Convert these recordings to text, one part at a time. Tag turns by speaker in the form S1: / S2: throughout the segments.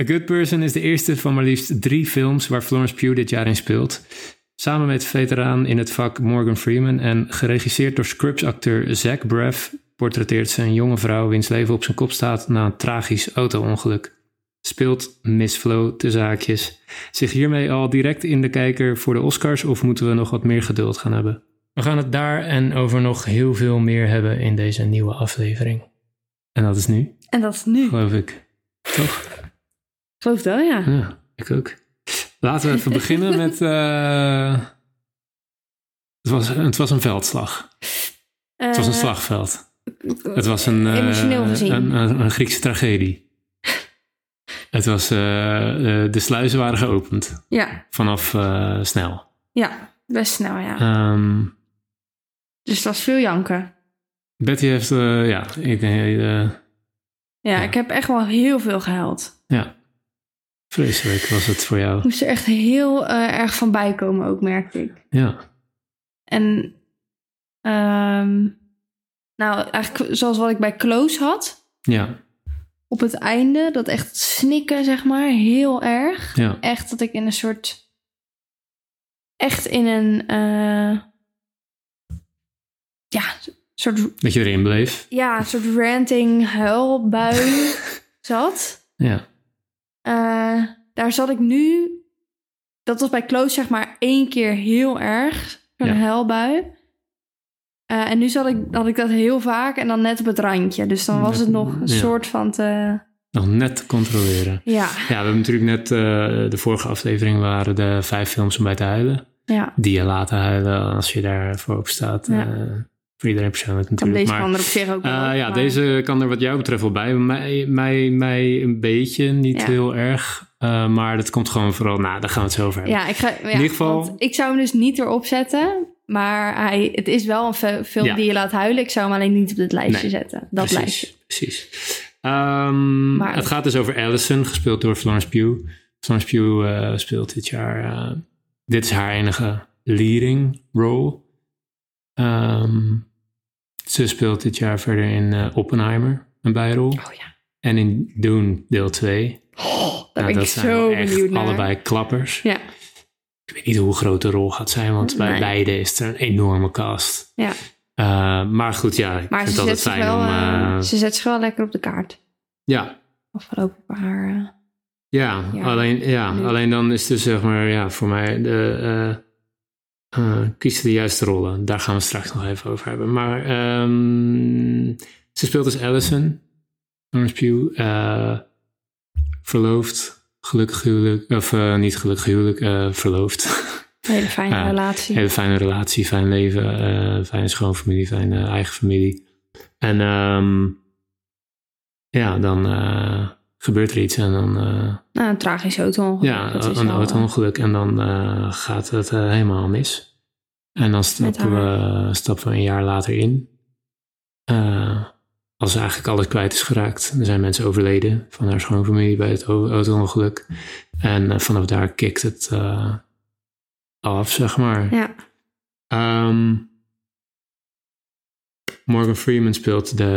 S1: A Good Person is de eerste van maar liefst drie films waar Florence Pugh dit jaar in speelt. Samen met veteraan in het vak Morgan Freeman en geregisseerd door Scrubs-acteur Zach Braff portretteert ze een jonge vrouw wiens leven op zijn kop staat na een tragisch auto-ongeluk. Speelt Miss Flo te zaakjes zich hiermee al direct in de kijker voor de Oscars of moeten we nog wat meer geduld gaan hebben? We gaan het daar en over nog heel veel meer hebben in deze nieuwe aflevering. En dat is nu,
S2: En dat is nu. Ik
S1: geloof ik. Toch?
S2: geloof wel, ja.
S1: Ja, ik ook. Laten we even beginnen met. eh, het, was, het was een veldslag. Het was een
S2: Eh,
S1: slagveld. Het was een, eh,
S2: Emotioneel gezien.
S1: een, een, een Griekse tragedie. Het was, eh, eh, de sluizen waren geopend
S2: Ja,
S1: vanaf eh, snel.
S2: ja. Best snel, ja.
S1: Ehm,
S2: Dus dat is veel janken.
S1: Betty heeft, eh, ja, ik, eh, eh,
S2: Ja,
S1: Ja.
S2: ik heb echt wel heel veel gehuild.
S1: ja, vreselijk was het voor
S2: Ik
S1: jou.
S2: moest er echt heel eh, erg van bijkomen ook, merkte ik.
S1: Ja,
S2: En, ehm, nou, eigenlijk zoals wat ik bij Close had.
S1: ja,
S2: Op het einde, dat echt snikken, zeg maar, heel erg.
S1: ja,
S2: echt dat ik in een soort. Echt in een. eh, ja, soort,
S1: dat je erin bleef.
S2: ja, een soort ranting huilbui zat.
S1: Ja,
S2: Eh, daar zat ik nu. Dat was bij Close zeg maar één keer heel erg. Zo'n
S1: Ja.
S2: huilbui. Eh, en nu zat ik, had ik dat heel vaak en dan net op het randje. Dus dan was
S1: Net-
S2: het nog een
S1: ja.
S2: soort van te.
S1: nog net te controleren.
S2: Ja,
S1: Ja, we hebben natuurlijk net eh, de vorige aflevering waren de vijf films om bij te huilen.
S2: ja.
S1: Die je laten huilen als je daarvoor op staat.
S2: Ja.
S1: Eh, voor iedereen persoonlijk
S2: Kan
S1: natuurlijk.
S2: deze
S1: maar,
S2: kan er op zich ook
S1: eh,
S2: wel op,
S1: ja,
S2: maar-
S1: deze kan er wat jou betreft wel bij. Mij, mij, mij een beetje, niet
S2: Ja.
S1: heel erg. Eh, maar dat komt gewoon vooral, nou, daar gaan we het zo over hebben.
S2: Ja, ik ga, ja,
S1: ieder geval-
S2: want ik zou hem dus niet erop zetten. Maar hij, het is wel een fe- film
S1: Ja.
S2: die je laat huilen. Ik zou hem alleen niet op dit lijstje
S1: Nee,
S2: zetten. Dat lijstje.
S1: precies, precies. Ehm,
S2: Maar-
S1: het gaat dus over Allison, gespeeld door Florence Pugh. Florence Pugh eh, speelt dit jaar... eh, dit is haar enige leading role. Ehm, ze speelt dit jaar verder in eh, Oppenheimer een bijrol.
S2: Oh ja.
S1: En in Dune deel 2.
S2: Daar ben
S1: Nou, dat
S2: ik
S1: zijn
S2: zo
S1: wel echt
S2: benieuwd naar.
S1: allebei klappers.
S2: Ja,
S1: Ik weet niet hoe groot de rol gaat zijn, want bij
S2: Nee.
S1: beide is er een enorme cast.
S2: ja.
S1: Eh, maar goed, ja, ik
S2: Maar
S1: vind
S2: ze
S1: het altijd
S2: zet, zich
S1: fijn
S2: wel,
S1: om...
S2: eh,
S1: eh,
S2: ze zet zich wel lekker op de kaart.
S1: ja,
S2: Afgelopen paar... eh,
S1: Ja,
S2: Ja.
S1: Alleen, ja
S2: Nu-
S1: alleen dan is dus zeg maar, ja, voor mij, de, eh, eh, kiezen de juiste rollen. Daar gaan we straks nog even over hebben. Maar ehm, ze speelt dus Allison, Florence Pugh, eh, verloofd, gelukkig huwelijk, of eh, niet gelukkig huwelijk, eh, verloofd.
S2: een hele fijne
S1: Ja.
S2: relatie.
S1: Hele fijne relatie, fijn leven, eh, fijne schoonfamilie, fijne eigen familie. En ehm, ja, dan eh, gebeurt er iets en dan... eh,
S2: Nou, een tragisch auto
S1: ja, een
S2: eh,
S1: auto-ongeluk. En dan eh, gaat het eh, helemaal mis. En dan stappen we, stappen we een jaar later in. Eh, als eigenlijk alles kwijt is geraakt. Er zijn mensen overleden van haar schoonfamilie bij het au- auto-ongeluk. En eh, vanaf daar kikt het eh, af, zeg maar.
S2: Ja,
S1: Ehm, Morgan Freeman speelt de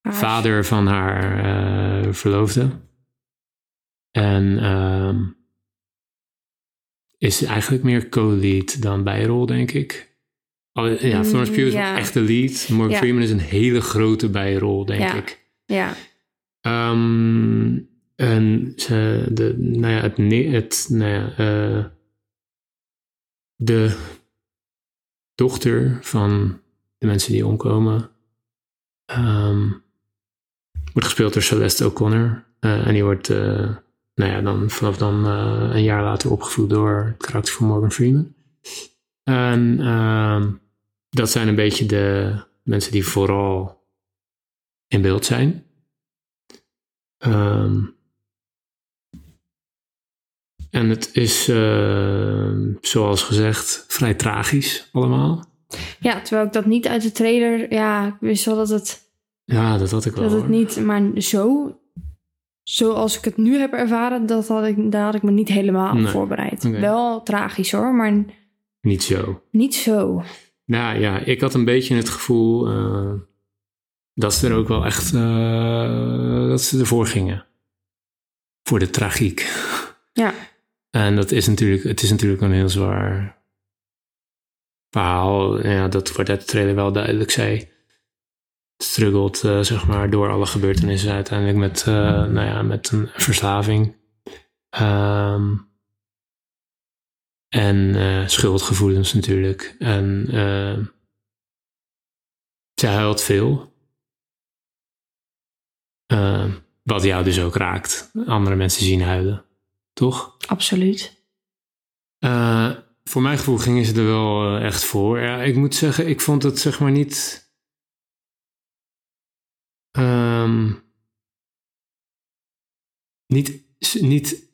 S2: haar-
S1: vader van haar eh, verloofde. En ehm, is eigenlijk meer co-lead dan bijrol, denk ik. Al- ja,
S2: Mm,
S1: Florence Pugh is
S2: ja.
S1: een echte lead. Morgan
S2: Ja.
S1: Freeman is een hele grote bijrol, denk
S2: Ja.
S1: ik.
S2: Ja,
S1: Ehm, en ze, de, nou ja, het, ne- het nou ja, eh, de dochter van de mensen die omkomen ehm, wordt gespeeld door Celeste O'Connor. Eh, en die wordt, eh, nou ja, dan vanaf dan eh, een jaar later opgevoed door het karakter van Morgan Freeman. En ehm, dat zijn een beetje de mensen die vooral in beeld zijn. Ehm, en het is, ehm, zoals gezegd, vrij tragisch allemaal.
S2: ja, terwijl ik dat niet uit de trailer... Ja, ik wist wel dat het,
S1: Ja, dat had ik wel.
S2: dat het
S1: hoor.
S2: niet... Maar zo... Zoals ik het nu heb ervaren, dat had ik, daar had ik me niet helemaal op
S1: Nee.
S2: voorbereid.
S1: Oké.
S2: Wel tragisch hoor, maar
S1: Niet zo.
S2: Niet zo.
S1: Nou ja, ik had een beetje het gevoel eh, dat ze er ook wel echt, eh, dat ze ervoor gingen. voor de tragiek.
S2: Ja.
S1: En dat is natuurlijk, het is natuurlijk een heel zwaar verhaal. Ja, dat wordt uit de trailer wel duidelijk. Zij struggelt, eh, zeg maar, door alle gebeurtenissen uiteindelijk met, eh, nou ja, met een verslaving. Ehm, en eh, schuldgevoelens natuurlijk. En eh, zij huilt veel. Ehm, wat jou dus ook raakt. Andere mensen zien huilen. Toch?
S2: Absoluut.
S1: Eh, voor mijn gevoel gingen ze er wel eh, echt voor. Ja, ik moet zeggen, ik vond het zeg maar niet. ehm, niet, s- niet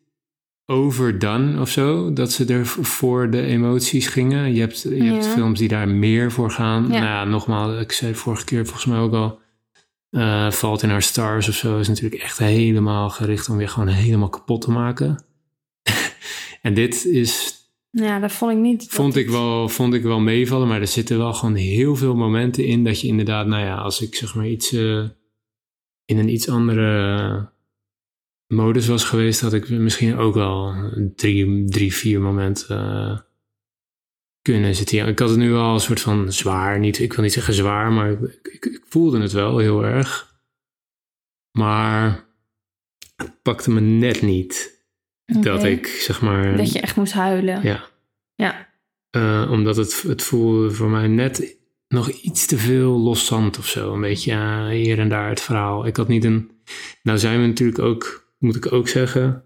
S1: overdone of zo. Dat ze er v- voor de emoties gingen. Je hebt, je hebt
S2: Ja.
S1: films die daar meer voor gaan.
S2: Ja.
S1: Nou ja, nogmaals, ik zei vorige keer volgens mij ook al. eh Fault in Our Stars of zo is natuurlijk echt helemaal gericht om weer gewoon helemaal kapot te maken. en dit is
S2: Ja, dat vond ik niet. dat
S1: Vond ik,
S2: het-
S1: wel, vond ik wel meevallen, maar er zitten wel gewoon heel veel momenten in dat je inderdaad, nou ja, als ik zeg maar iets eh, in een iets andere modus was geweest, had ik misschien ook wel drie, drie vier momenten eh, kunnen zitten. Ja, ik had het nu al een soort van zwaar, niet, ik wil niet zeggen zwaar, maar ik, ik, ik voelde het wel heel erg. Maar het pakte me net niet dat
S2: Oké.
S1: ik zeg maar.
S2: Dat je echt moest huilen.
S1: Ja.
S2: Ja.
S1: Eh, omdat het, het voelde voor mij net nog iets te veel loszand of zo. Een beetje eh, hier en daar het verhaal. Ik had niet een. Nou zijn we natuurlijk ook, moet ik ook zeggen.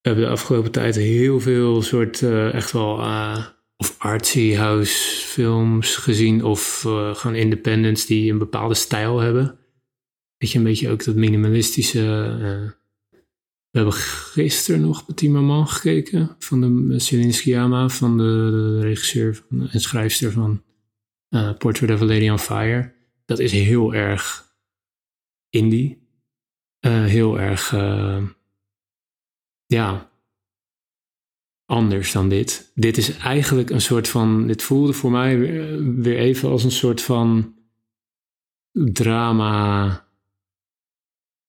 S1: We hebben de afgelopen tijd heel veel soort eh, echt wel. eh, of artsy house films gezien. Of eh, gewoon independents die een bepaalde stijl hebben. Weet je, een beetje ook dat minimalistische. eh, we hebben gisteren nog Petit Maman gekeken van de Celine Sciamma, van de, de regisseur van- en schrijfster van eh, Portrait of a Lady on Fire. Dat is heel erg indie. Eh, heel erg, eh, ja, anders dan dit. Dit is eigenlijk een soort van, dit voelde voor mij weer, eh, weer even als een soort van drama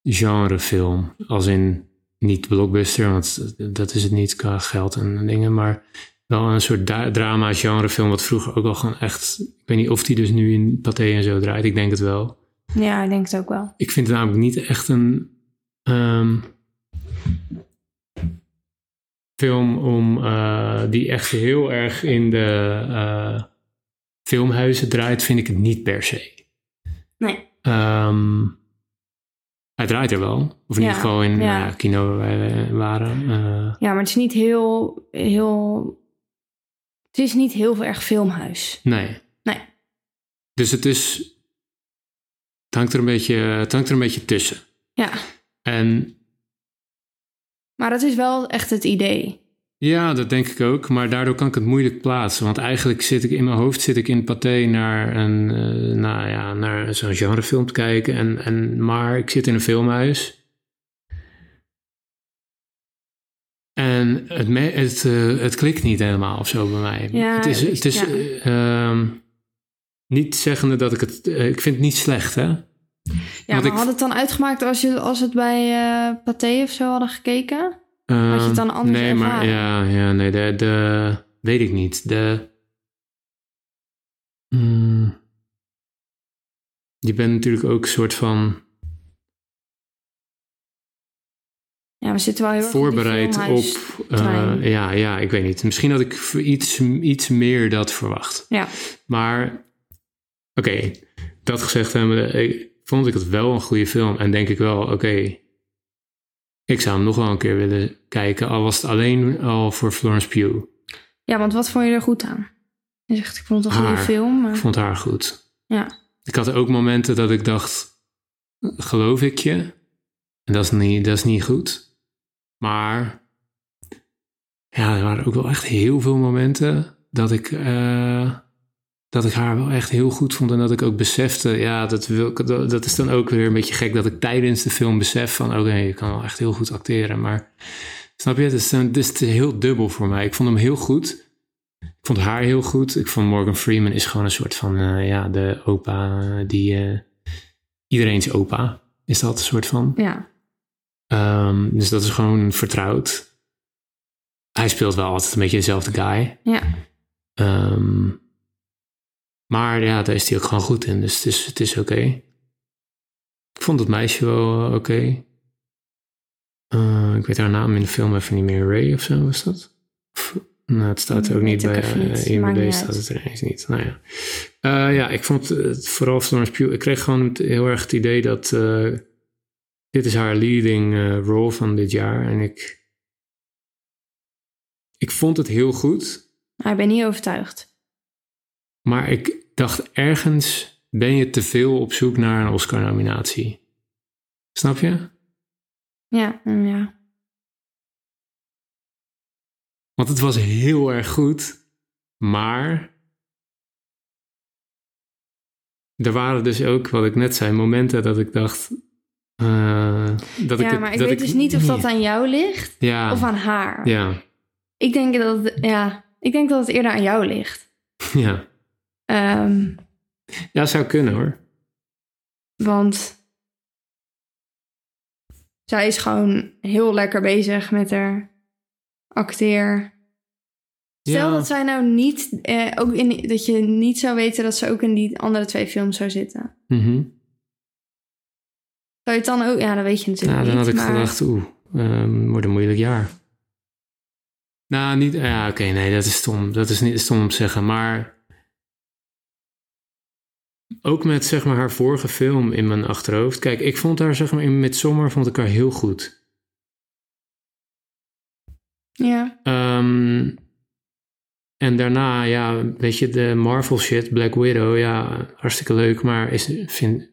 S1: genrefilm. Als in niet blockbuster, want dat is het niet qua geld en dingen, maar wel een soort da- drama genrefilm wat vroeger ook al gewoon echt, ik weet niet of die dus nu in Pathé en zo draait, ik denk het wel.
S2: ja, ik denk het ook wel.
S1: Ik vind het namelijk niet echt een ehm, film om, eh, die echt heel erg in de eh, filmhuizen draait, vind ik het niet per se.
S2: Nee.
S1: Ehm, hij draait er wel. Of in
S2: Ja,
S1: ieder geval in
S2: ja.
S1: eh, kino waar wij waren. eh,
S2: Ja, maar het is niet heel, heel... Het is niet heel erg filmhuis.
S1: nee.
S2: Nee.
S1: Dus het is... Het hangt er een beetje, het hangt er een beetje tussen.
S2: Ja.
S1: En
S2: Maar dat is wel echt het idee.
S1: ja, dat denk ik ook. Maar daardoor kan ik het moeilijk plaatsen. Want eigenlijk zit ik in mijn hoofd zit ik in Pathé naar, een, eh, nou ja, naar zo'n genrefilm te kijken. En, en, maar ik zit in een filmhuis. En het, me- het, eh, het klikt niet helemaal of zo bij mij.
S2: Ja,
S1: het is, het is
S2: ja.
S1: eh, ehm, niet zeggende dat ik het... eh, ik vind het niet slecht, hè?
S2: Ja,
S1: Want
S2: maar
S1: ik-
S2: had het dan uitgemaakt als, je, als het bij eh Pathé of zo hadden gekeken? je het dan
S1: Ehm,
S2: anders
S1: Nee, maar
S2: ervaren?
S1: ja, ja nee, de, de... Weet ik niet. De... Mm. je bent natuurlijk ook een soort van
S2: Ja, we zitten wel heel erg op die
S1: voorbereid op...
S2: filmhuis-
S1: eh,
S2: trein.
S1: ja, ja, ik weet niet. Misschien had ik iets, iets meer dat verwacht.
S2: Ja,
S1: Maar oké, dat gezegd hebben, ik, vond ik het wel een goede film. En denk ik wel, oké, ik zou hem nog wel een keer willen kijken. Al was het alleen al voor Florence Pugh.
S2: ja, want wat vond je er goed aan? Je zegt, ik vond het een goede
S1: Haar.
S2: film.
S1: Ik
S2: Maar...
S1: vond haar goed.
S2: Ja.
S1: Ik had ook momenten dat ik dacht, geloof ik je? En dat is niet, dat is niet goed. Maar ja, er waren ook wel echt heel veel momenten dat ik, eh, dat ik haar wel echt heel goed vond. En dat ik ook besefte, ja, dat, wil, ik- dat, dat is dan ook weer een beetje gek dat ik tijdens de film besef van, oké, je kan wel echt heel goed acteren. Maar snap je, het is, een- het is heel dubbel voor mij. Ik vond hem heel goed. Ik vond haar heel goed. Ik vond Morgan Freeman is gewoon een soort van, eh, ja, de opa eh, die, eh, iedereen's opa is dat een soort van.
S2: Ja,
S1: Ehm, dus dat is gewoon vertrouwd. Hij speelt wel altijd een beetje dezelfde guy.
S2: Ja.
S1: Ehm, maar ja, daar is hij ook gewoon goed in. Dus het is, het is oké. Ik vond het meisje wel eh, oké. Eh, ik weet haar naam in de film even niet meer. Ray of zo was dat? Of- nou, het staat er ook
S2: Mm, Weet
S1: niet
S2: ik
S1: bij.
S2: even niet.
S1: eh, IMDb
S2: Maakt niet
S1: staat
S2: uit.
S1: het er ineens niet. Nou ja. Eh, ja, ik vond het vooral Florence Pugh... Ik kreeg gewoon het- heel erg het idee dat... eh, dit is haar leading eh, role van dit jaar. En ik... Ik vond het heel goed.
S2: Maar ik ben niet overtuigd.
S1: Maar ik dacht ergens ben je te veel op zoek naar een Oscar-nominatie. Snap je?
S2: Ja, mm, ja.
S1: Want het was heel erg goed, maar er waren dus ook, wat ik net zei, momenten dat ik dacht eh, dat ik
S2: ja,
S1: het-
S2: maar ik
S1: dat
S2: weet dus niet of dat aan jou ligt
S1: ja,
S2: of aan haar.
S1: ja,
S2: Ik, denk dat het, ja, ik denk dat het eerder aan jou ligt.
S1: ja,
S2: Ehm,
S1: ja, zou kunnen hoor.
S2: want zij is gewoon heel lekker bezig met haar acteer. Stel
S1: ja,
S2: dat zij nou niet, eh, ook in, dat je niet zou weten dat ze ook in die andere twee films zou zitten.
S1: mhm.
S2: Zou je het dan ook, ja, dat weet
S1: Ja,
S2: je natuurlijk
S1: Nou, dan
S2: niet.
S1: had ik
S2: maar
S1: gedacht, oeh, ehm wordt een moeilijk jaar. Nou, niet, ja, oké, nee, dat is stom. Dat is niet stom om te zeggen, maar ook met zeg maar haar vorige film in mijn achterhoofd. Kijk, ik vond haar zeg maar in Midsommar vond ik haar heel goed.
S2: Ja,
S1: Ehm, en daarna, ja, weet je, de Marvel shit, Black Widow, ja, hartstikke leuk, maar is, vind,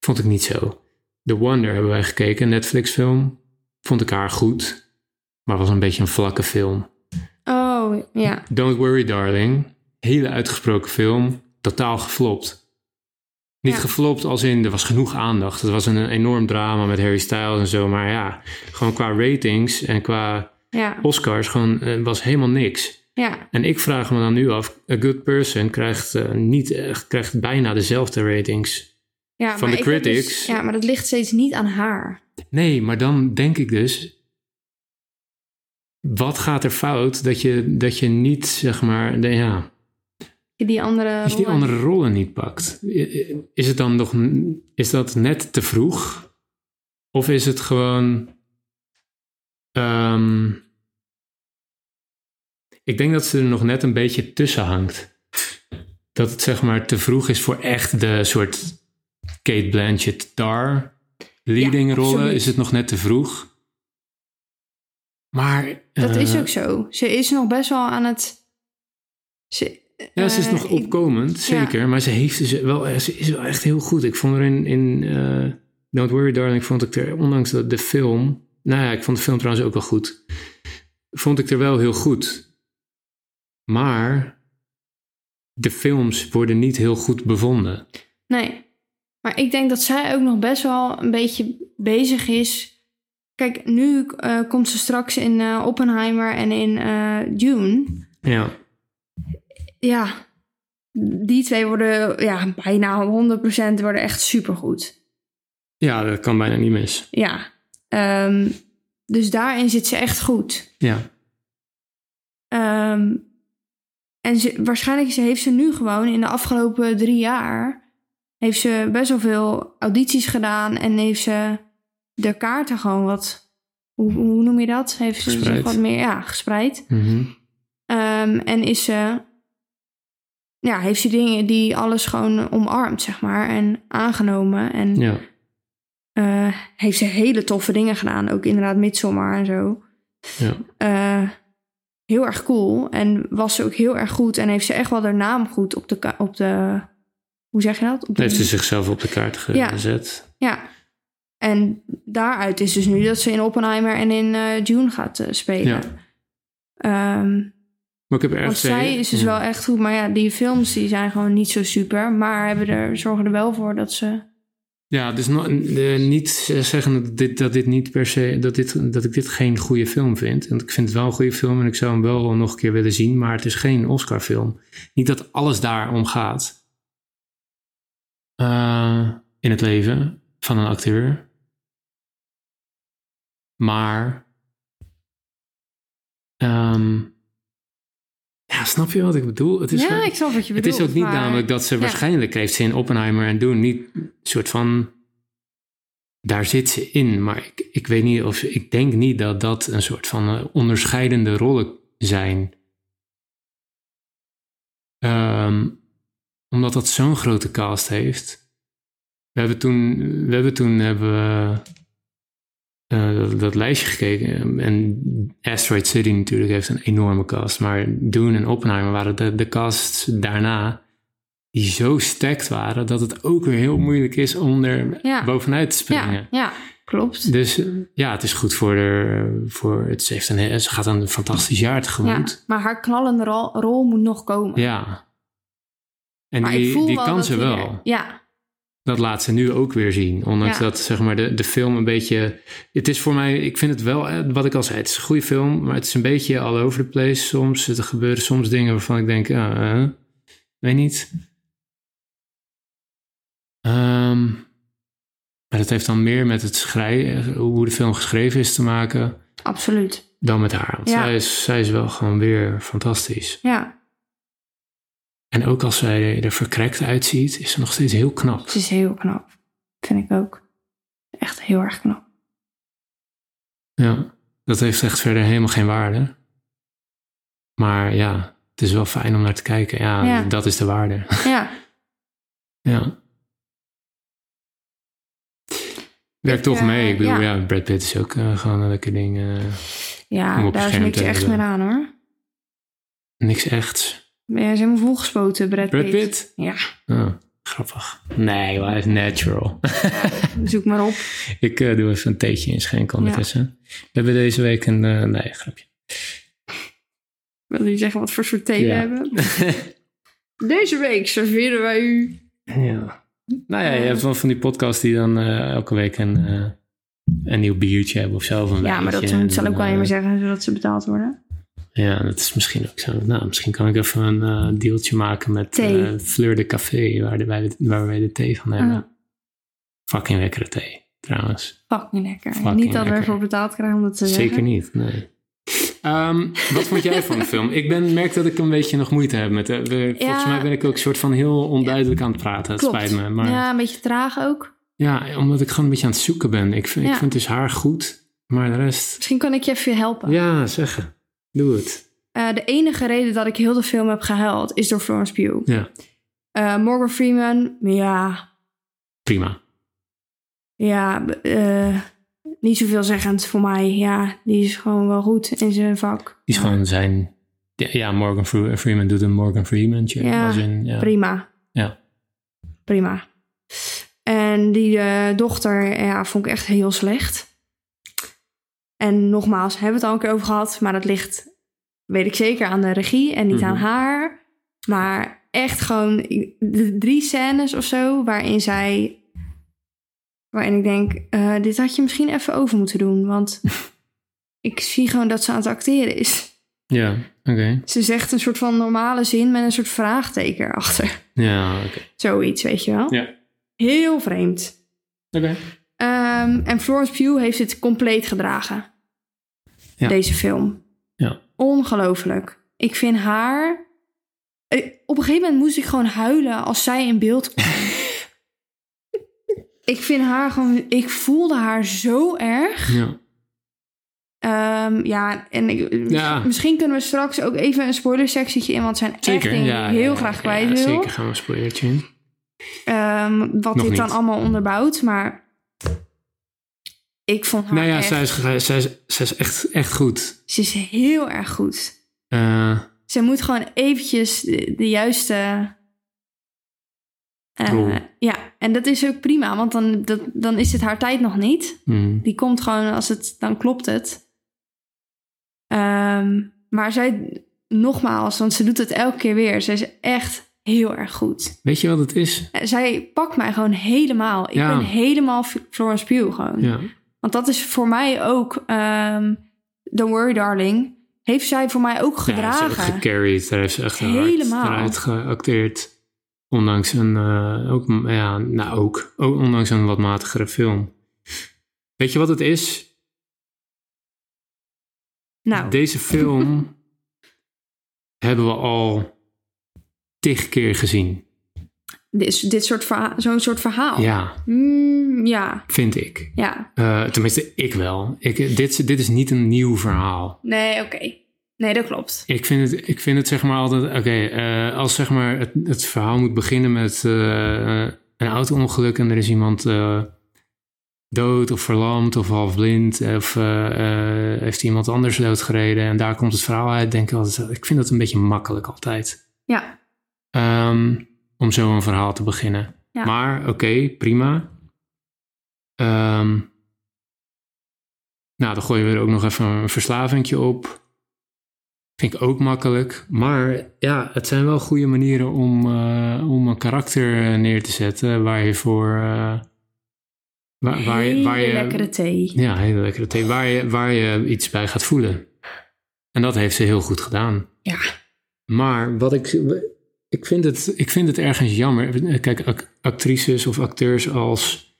S1: vond ik niet zo. The Wonder hebben wij gekeken, een Netflix-film. Vond ik haar goed, maar was een beetje een vlakke film.
S2: oh, ja.
S1: Don't Worry Darling, hele uitgesproken film, totaal geflopt. Niet
S2: Ja.
S1: geflopt als in, er was genoeg aandacht. Het was een enorm drama met Harry Styles en zo, maar ja, gewoon qua ratings en qua
S2: Ja,
S1: Oscars gewoon, eh, was helemaal niks.
S2: ja,
S1: En ik vraag me dan nu af, A Good Person krijgt, eh, niet, echt- krijgt bijna dezelfde ratings.
S2: ja.
S1: Van
S2: maar
S1: de
S2: ik heb dus-
S1: critics.
S2: ja, maar dat ligt steeds niet aan haar.
S1: Nee, maar dan denk ik dus, wat gaat er fout dat je, dat je niet, zeg maar, de, ja,
S2: Die andere
S1: dat je die
S2: rollen.
S1: andere rollen niet pakt? I- i- Is het dan nog, n- is dat net te vroeg? Of is het gewoon, ehm, ik denk dat ze er nog net een beetje tussen hangt. Dat het zeg maar te vroeg is voor echt de soort Kate Blanchett Dar leading
S2: Ja,
S1: rollen.
S2: absoluut.
S1: Is het nog net te vroeg? Maar
S2: Dat
S1: eh,
S2: is ook zo. Ze is nog best wel aan het... Ze,
S1: ja, ze is
S2: eh,
S1: nog
S2: ik-
S1: opkomend,
S2: ja.
S1: zeker. Maar ze heeft ze wel, eh, ze is wel echt heel goed. Ik vond er in, in eh, Don't Worry Darling, vond ik er, ondanks dat de film... Nou ja, ik vond de film trouwens ook wel goed. Vond ik er wel heel goed. Maar de films worden niet heel goed bevonden.
S2: Nee. Maar ik denk dat zij ook nog best wel een beetje bezig is. Kijk, nu eh, komt ze straks in eh, Oppenheimer en in eh, Dune.
S1: Ja,
S2: Ja, die twee worden ja, bijna 100% worden echt supergoed.
S1: ja dat kan bijna niet mis.
S2: Ja. Ehm, dus daarin zit ze echt goed.
S1: Ja,
S2: Ehm, en ze, waarschijnlijk ze- heeft ze nu gewoon in de afgelopen drie jaar... heeft ze best wel veel audities gedaan... en heeft ze de kaarten gewoon wat... hoe, hoe noem je dat? Heeft ze
S1: Gespreid.
S2: zich wat meer ja, gespreid.
S1: mhm.
S2: Ehm, en is ze... Ja, heeft ze dingen die alles gewoon omarmd, zeg maar. En aangenomen. En
S1: ja.
S2: eh, heeft ze hele toffe dingen gedaan. Ook inderdaad Midsommar en zo.
S1: Ja.
S2: Eh, heel erg cool. En was ze ook heel erg goed. En heeft ze echt wel haar naam goed op de... ka- Op de hoe zeg je dat? Op de-
S1: heeft ze zichzelf op de kaart ge-
S2: Mhm. Ja.
S1: gezet.
S2: Ja. En daaruit is dus nu dat ze in Oppenheimer en in eh, Dune gaat eh,
S1: Ja.
S2: spelen. Ehm,
S1: Maar ik heb
S2: want
S1: ergens...
S2: zij is dus
S1: ja.
S2: wel echt goed. Maar ja, die films die zijn gewoon niet zo super. Maar hebben er, zorgen er wel voor dat ze...
S1: Ja, dus no- eh, niet zeggen dat dit, dat dit niet per se, dat, dit, dat ik dit geen goede film vind. Want ik vind het wel een goede film en ik zou hem wel nog een keer willen zien, maar het is geen Oscar-film. Niet dat alles daarom gaat Eh, in het leven van een acteur. Maar. ehm, ja, snap je wat ik bedoel? Het is
S2: ja,
S1: wel-
S2: ik snap wat je
S1: het
S2: bedoelt.
S1: is ook niet
S2: maar-
S1: namelijk dat ze
S2: ja.
S1: waarschijnlijk heeft ze in Oppenheimer en Doen niet een soort van. Daar zit ze in, maar ik, ik weet niet of. Ik denk niet dat dat een soort van eh, onderscheidende rollen zijn. Ehm, omdat dat zo'n grote cast heeft. We hebben toen, we hebben, toen hebben we, eh, dat, dat lijstje gekeken. En Asteroid City natuurlijk heeft een enorme cast. Maar Dune en Oppenheimer waren de, de casts daarna die zo stacked waren... dat het ook weer heel moeilijk is om er
S2: Ja.
S1: bovenuit te springen.
S2: Ja, ja, klopt.
S1: Dus eh, ja, het is goed voor de... Voor, het, ze, heeft een, ze gaat een fantastisch jaar
S2: Ja,
S1: tegemoet.
S2: maar haar knallende rol, rol moet nog komen.
S1: Ja. En
S2: maar ik
S1: die,
S2: voel
S1: die
S2: wel
S1: kan
S2: dat
S1: ze
S2: die
S1: wel.
S2: er- ja,
S1: dat laat ze nu ook weer zien. Ondanks
S2: Ja.
S1: dat zeg maar, de, de film een beetje. Het is voor mij, ik vind het wel, eh, wat ik al zei, het is een goede film, maar het is een beetje all over the place soms. Er gebeuren soms dingen waarvan ik denk, eh, eh, weet niet. Ehm, maar dat heeft dan meer met het schrijven, hoe de film geschreven is te maken,
S2: absoluut.
S1: dan met haar. Want
S2: Ja.
S1: zij, is, zij is wel gewoon weer fantastisch.
S2: Ja,
S1: En ook als zij er verkrekt uitziet, is ze nog steeds heel knap.
S2: ze is heel knap. Vind ik ook. Echt heel erg knap.
S1: Ja, dat heeft echt verder helemaal geen waarde. Maar ja, het is wel fijn om naar te kijken. Ja,
S2: Ja.
S1: dat is de waarde.
S2: Ja,
S1: ja. Werkt
S2: Ik,
S1: toch
S2: eh,
S1: mee. Ik bedoel,
S2: ja.
S1: ja. Brad Pitt is ook eh, gewoon een lekker ding. eh, Om
S2: ja
S1: op
S2: daar is
S1: scherm
S2: niks
S1: te
S2: echt
S1: hebben.
S2: meer aan hoor.
S1: niks echt.
S2: Ja, ze hebben volgespoten, Brad Pitt.
S1: Brad Pitt?
S2: Ja,
S1: Oh, grappig. Nee, maar hij is natural.
S2: zoek maar op.
S1: ik eh, doe even een theetje inschenken ondertussen. We hebben deze week een... eh, nee, grapje.
S2: Wil jullie zeggen wat voor soort thee we
S1: Ja.
S2: hebben? Deze week serveren wij u.
S1: Ja. Nou ja, je hebt wel van die podcast die dan eh, elke week een, eh, een nieuw biertje hebben of zo. Of een
S2: Ja, maar dat
S1: wijntje.
S2: moet- zal
S1: En,
S2: ook wel
S1: eh,
S2: niet meer zeggen, zodat ze betaald worden.
S1: Ja, dat is misschien ook zo. Nou, misschien kan ik even een eh, deeltje maken met
S2: Thee.
S1: eh, Fleur de Café, waar, de, waar, we- waar wij de thee van hebben.
S2: Ah.
S1: Fucking lekkere thee, trouwens.
S2: Fucking lekker.
S1: Fucking
S2: niet dat we
S1: lekker.
S2: ervoor betaald krijgen om dat te
S1: Zeker
S2: zeggen.
S1: niet, nee. Ehm, wat vond jij van de film? Ik ben, merk dat ik een beetje nog moeite heb met... eh, we- Volgens mij ben ik ook soort van heel onduidelijk aan het praten. Het
S2: Klopt.
S1: spijt me. Maar...
S2: Ja, een beetje traag ook.
S1: Ja, omdat ik gewoon een beetje aan het zoeken ben. Ik vind,
S2: Ja.
S1: ik vind dus haar goed, maar de rest...
S2: Misschien kan ik je even helpen.
S1: Ja, zeggen. Doe het.
S2: Eh, de enige reden dat ik heel de film heb gehuild is door Florence Pugh.
S1: Ja,
S2: Eh, Morgan Freeman, ja,
S1: prima.
S2: ja, eh, niet zoveel zeggend voor mij. Ja, die is gewoon wel goed in zijn vak.
S1: Die is gewoon zijn... Ja, ja, Morgan Fre- Freeman doet een Morgan Freeman.
S2: Ja,
S1: Ja, in, ja.
S2: Prima.
S1: Ja.
S2: Prima. En die eh, dochter, ja, vond ik echt heel slecht. En nogmaals, hebben we het al een keer over gehad, maar dat ligt, weet ik zeker, aan de regie en niet
S1: Mhm.
S2: aan haar. Maar echt gewoon ik- de drie scènes of zo, waarin zij, waarin ik denk, eh, dit had je misschien even over moeten doen, want ik zie gewoon dat ze aan het acteren is.
S1: Ja, oké.
S2: Ze zegt een soort van normale zin met een soort vraagteken erachter.
S1: Ja, oké.
S2: Zoiets, weet je wel.
S1: Ja.
S2: Heel vreemd.
S1: Oké.
S2: Ehm, en Florence Pugh heeft het compleet gedragen.
S1: Ja.
S2: Deze film.
S1: Ja.
S2: Ongelooflijk. Ik vind haar... eh, Op een gegeven moment moest ik gewoon huilen als zij in beeld kwam. ik vind haar gewoon... Ik voelde haar zo erg.
S1: Ja.
S2: Ehm, ja, en ik-
S1: Ja.
S2: misschien kunnen we straks ook even een spoilersectietje in. Want er zijn echt
S1: Zeker.
S2: dingen
S1: Ja,
S2: die ik heel
S1: ja,
S2: graag
S1: ja,
S2: kwijt wil.
S1: Zeker gaan we een spoilertje in.
S2: Ehm, wat
S1: Nog
S2: dit dan
S1: niet.
S2: allemaal onderbouwt. Maar ik vond haar
S1: Nou ja,
S2: echt...
S1: zij is, zij is, zij is echt, echt goed.
S2: Ze is heel erg goed.
S1: Eh,
S2: Ze moet gewoon eventjes de, de juiste... eh,
S1: Rol.
S2: ja, en dat is ook prima, want dan, dat, dan is het haar tijd nog niet.
S1: mm,
S2: Die komt gewoon als het... Dan klopt het. Ehm, maar zij... Nogmaals, want ze doet het elke keer weer. Zij is echt heel erg goed.
S1: Weet je wat het is?
S2: Eh, Zij pakt mij gewoon helemaal. Ik
S1: Ja.
S2: ben helemaal F- Florence Pugh gewoon.
S1: Ja.
S2: Want dat is voor mij ook... ehm Don't Worry Darling... Heeft zij voor mij ook
S1: Ja, ze heeft ook
S2: gedragen.
S1: gecarried. Daar heeft ze echt
S2: Helemaal.
S1: hard eruit geacteerd. Ondanks een, eh, ook, ja, nou ook, ook ondanks een wat matigere film. Weet je wat het is?
S2: Nou,
S1: Deze film hebben we al tig keer gezien.
S2: dit, dit soort verha- zo'n soort verhaal.
S1: Ja,
S2: Mm, ja,
S1: vind ik.
S2: ja.
S1: Eh, tenminste, ik wel. Ik, dit, dit is niet een nieuw verhaal.
S2: Nee, oké. Nee, dat klopt.
S1: Ik vind het, ik vind het zeg maar altijd, oké, eh, als zeg maar het, het verhaal moet beginnen met eh, eh, een auto-ongeluk en er is iemand eh, dood of verlamd of half blind of eh, eh, heeft iemand anders doodgereden en daar komt het verhaal uit, denk ik altijd, ik vind dat een beetje makkelijk altijd.
S2: Ja,
S1: Ehm, om zo een verhaal te beginnen.
S2: Ja.
S1: Maar oké, prima. Ehm, nou, dan gooien we er ook nog even een verslavingje op. Vind ik ook makkelijk. Maar ja, het zijn wel goede manieren om, eh, om een karakter eh, neer te zetten waar je voor. eh, waar, waar je, waar
S2: Hele
S1: je,
S2: lekkere thee.
S1: ja, hele lekkere thee. Waar je, waar je iets bij gaat voelen. En dat heeft ze heel goed gedaan.
S2: Ja.
S1: Maar wat ik. Ik vind het, ik vind het ergens jammer. Kijk, ac- actrices of acteurs als.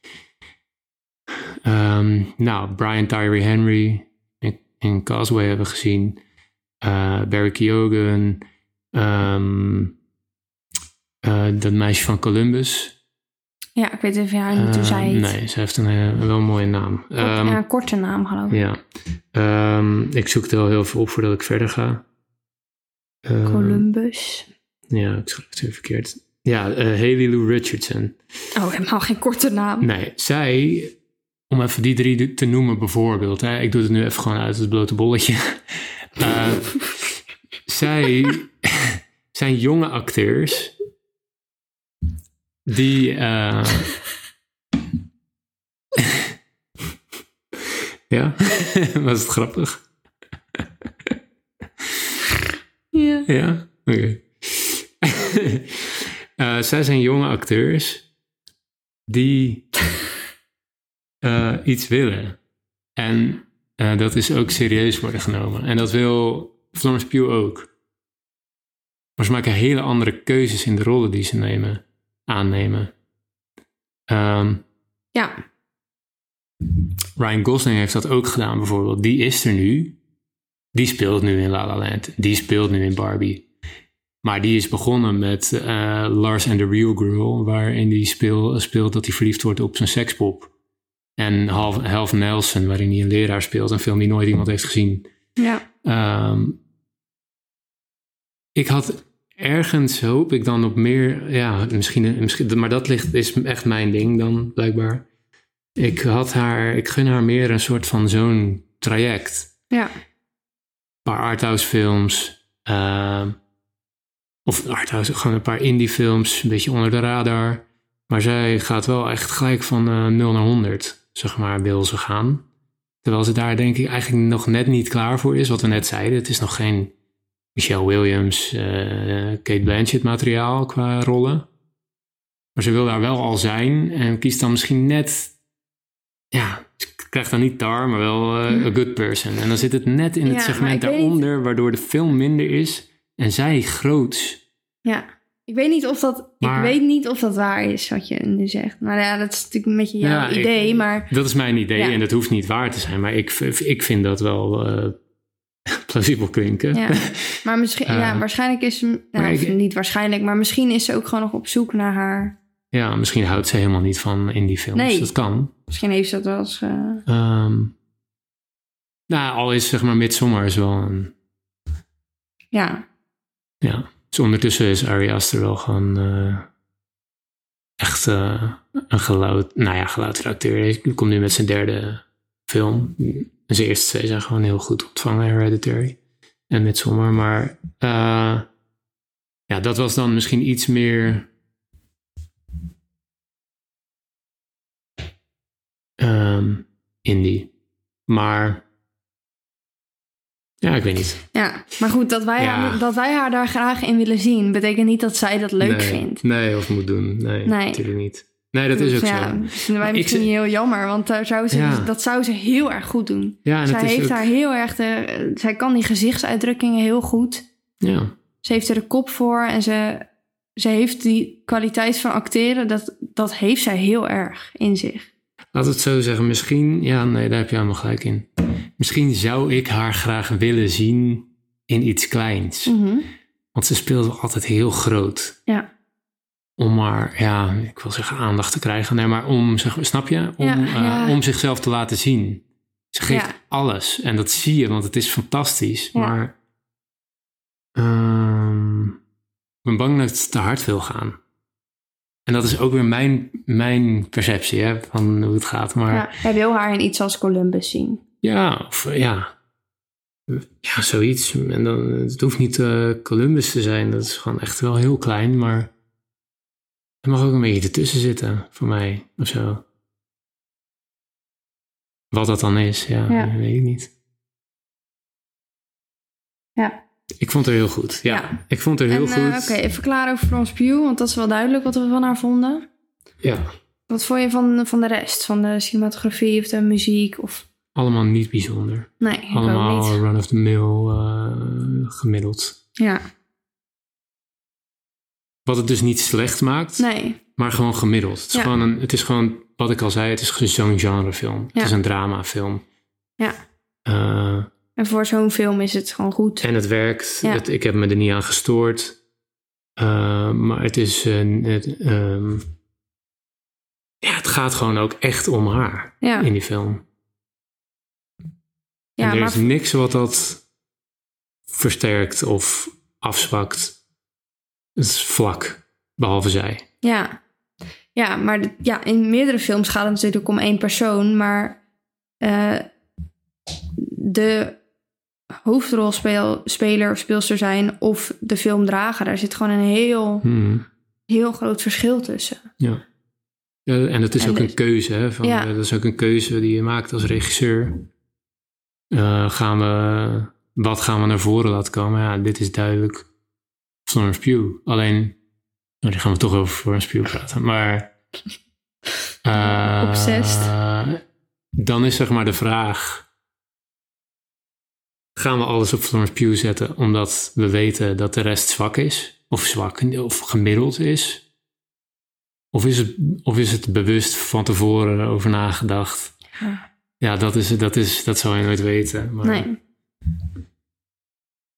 S1: ehm, nou, Brian Tyree Henry in, in Causeway hebben we gezien. Eh, Barry Keoghan. ehm, eh, dat meisje van Columbus.
S2: Ja, ik weet even haar niet hoe
S1: Ehm,
S2: zij heet.
S1: nee, ze heeft een, eh, wel een mooie naam.
S2: Kort-
S1: Ehm,
S2: ja, een korte naam, geloof ik.
S1: ja. Ehm, ik zoek het wel heel even op voordat ik verder ga. Ehm,
S2: Columbus.
S1: ja, ik schrijf het weer verkeerd. Ja, eh Haley Lou Richardson.
S2: Oh, helemaal geen korte naam.
S1: Nee, zij, om even die drie te noemen bijvoorbeeld. Hè, ik doe het nu even gewoon uit het blote bolletje. Eh, zij zijn jonge acteurs die... eh, ja, was het grappig?
S2: Ja.
S1: Ja, oké. Eh, zij zijn jonge acteurs die eh, iets willen. En eh, dat is ook serieus worden genomen. En dat wil Florence Pugh ook. Maar ze maken hele andere keuzes in de rollen die ze nemen, aannemen. Ehm,
S2: Ja.
S1: Ryan Gosling heeft dat ook gedaan bijvoorbeeld. Die is er nu. Die speelt nu in La La Land. Die speelt nu in Barbie. Maar die is begonnen met eh, Lars and the Real Girl, waarin die speel, speelt dat hij verliefd wordt op zijn sekspop. En Half, Half Nelson, waarin hij een leraar speelt, een film die nooit iemand heeft gezien.
S2: Ja.
S1: Ehm, ik had ergens hoop ik dan op meer. Ja, misschien. misschien maar dat ligt, is echt mijn ding dan, blijkbaar. Ik, had haar, ik gun haar meer een soort van zo'n traject
S2: Ja.
S1: een paar arthouse films. ehm, of arthouse, gewoon een paar indie films, een beetje onder de radar. Maar zij gaat wel echt gelijk van eh 0 naar 100, zeg maar, wil ze gaan. Terwijl ze daar denk ik eigenlijk nog net niet klaar voor is, wat we net zeiden. Het is nog geen Michelle Williams, eh, Kate Blanchett materiaal qua rollen. Maar ze wil daar wel al zijn en kiest dan misschien net... Ja, ze krijgt dan niet Tar, maar wel eh, A Good Person. En dan zit het net in het
S2: Ja, maar
S1: segment
S2: ik weet-
S1: daaronder, waardoor de film minder is. En zij groots.
S2: Ja. Ik weet niet of dat,
S1: Maar-
S2: ik weet niet of dat waar is, wat je nu zegt. Maar ja, dat is natuurlijk een beetje jouw
S1: Ja, ik-
S2: idee, maar...
S1: Dat is mijn idee
S2: Ja.
S1: en dat hoeft niet waar te zijn. Maar ik, v- ik vind dat wel eh, plausibel klinken.
S2: Ja. Maar misschien, ja,
S1: Eh,
S2: waarschijnlijk is ze... Nou,
S1: maar ik-
S2: of niet waarschijnlijk, maar misschien is ze ook gewoon nog op zoek naar haar...
S1: Ja, misschien houdt ze helemaal niet van in die films.
S2: Nee.
S1: Dat kan.
S2: Misschien heeft ze dat wel eens... eh,
S1: Ehm, nou, al is zeg maar Midsommar is wel een...
S2: ja.
S1: Ja. Dus ondertussen is Ari Aster wel gewoon eh, echt eh, een geluid... Nou ja, geluid acteur. Hij komt nu met zijn derde film. En zijn eerste twee zijn gewoon heel goed ontvangen, Hereditary. En Midsommar. Maar eh, ja, dat was dan misschien iets meer... ehm, indie. Maar ja, ik weet niet.
S2: ja. Maar goed, dat wij,
S1: Ja.
S2: haar, dat wij haar daar graag in willen zien... betekent niet dat zij dat leuk
S1: nee,
S2: vindt.
S1: Nee, of moet doen. Nee,
S2: Nee.
S1: natuurlijk niet. Nee, dat is ook
S2: ja,
S1: zo.
S2: dat vinden wij
S1: Ik
S2: misschien
S1: zeg-
S2: heel jammer, want daar zou ze,
S1: Ja.
S2: dat zou ze heel erg goed doen.
S1: Ja, en
S2: zij
S1: het is
S2: heeft
S1: ook-
S2: haar heel erg... De, zij kan die gezichtsuitdrukkingen heel goed.
S1: Ja,
S2: Ze heeft er de kop voor en ze, ze heeft die kwaliteit van acteren. Dat, dat heeft zij heel erg in zich.
S1: laat het zo zeggen. Misschien, ja, nee, daar heb je helemaal gelijk in. Misschien zou ik haar graag willen zien in iets kleins.
S2: Mhm.
S1: Want ze speelde altijd heel groot.
S2: Ja.
S1: Om maar, ja, ik wil zeggen aandacht te krijgen. Nee, maar om, zeg, maar, snap je? Om,
S2: Ja,
S1: eh,
S2: ja.
S1: om zichzelf te laten zien. Ze geeft
S2: Ja.
S1: alles. En dat zie je, want het is fantastisch.
S2: Ja.
S1: Maar ehm, ik ben bang dat het te hard wil gaan. En dat is ook weer mijn, mijn perceptie hè, van hoe het gaat. Maar
S2: ja. Hij wil haar in iets als Columbus zien.
S1: ja, of eh, ja. Ja, zoiets. En dan, het hoeft niet eh, Columbus te zijn. Dat is gewoon echt wel heel klein, maar het mag ook een beetje ertussen zitten voor mij of zo. Wat dat dan is, ja,
S2: Ja.
S1: weet ik niet.
S2: Ja.
S1: Ik vond haar heel goed. Ja,
S2: Ja.
S1: ik vond haar heel
S2: en eh,
S1: goed.
S2: oké, even klaar over Florence Pugh, want dat is wel duidelijk wat we van haar vonden.
S1: Ja,
S2: Wat vond je van, van de rest? Van de cinematografie of de muziek? Of...
S1: allemaal niet bijzonder.
S2: Nee, ik ook
S1: allemaal
S2: niet.
S1: run-of-the-mill eh, gemiddeld.
S2: Ja,
S1: Wat het dus niet slecht maakt.
S2: nee.
S1: Maar gewoon gemiddeld. Het is,
S2: Ja.
S1: gewoon, een, het is gewoon, wat ik al zei, het is ge- zo'n genrefilm.
S2: Ja.
S1: Het is een dramafilm.
S2: Ja.
S1: Eh,
S2: En voor zo'n film is het gewoon goed.
S1: en het werkt.
S2: Ja.
S1: Het- ik heb me er niet aan gestoord. Eh, maar het is... een- het, ehm, ja, het gaat gewoon ook echt om haar
S2: Ja,
S1: in die film.
S2: ja
S1: en er
S2: maar
S1: is niks wat dat versterkt of afzwakt. Het is vlak, behalve zij.
S2: Ja, ja maar d- ja, in meerdere films gaat het natuurlijk om één persoon, maar eh, de hoofdrolspeler of speelster zijn of de filmdrager, daar zit gewoon een heel,
S1: Hmm.
S2: heel groot verschil tussen.
S1: Ja. ja en dat is
S2: En
S1: ook
S2: dus-
S1: een keuze. Hè, van,
S2: Ja.
S1: eh, dat is ook een keuze die je maakt als regisseur. Eh, gaan we, wat gaan we naar voren laten komen? Ja, dit is duidelijk Florence Pugh. Alleen, nou, die gaan we toch over Florence Pugh praten. Maar... eh,
S2: Obsessed.
S1: Dan is zeg maar de vraag... Gaan we alles op Florence Pugh zetten omdat we weten dat de rest zwak is? Of zwak of gemiddeld is? Of is het, of is het bewust van tevoren over nagedacht?
S2: Ja.
S1: Ja, dat, is, dat, is, dat zou je nooit weten. Maar
S2: Nee,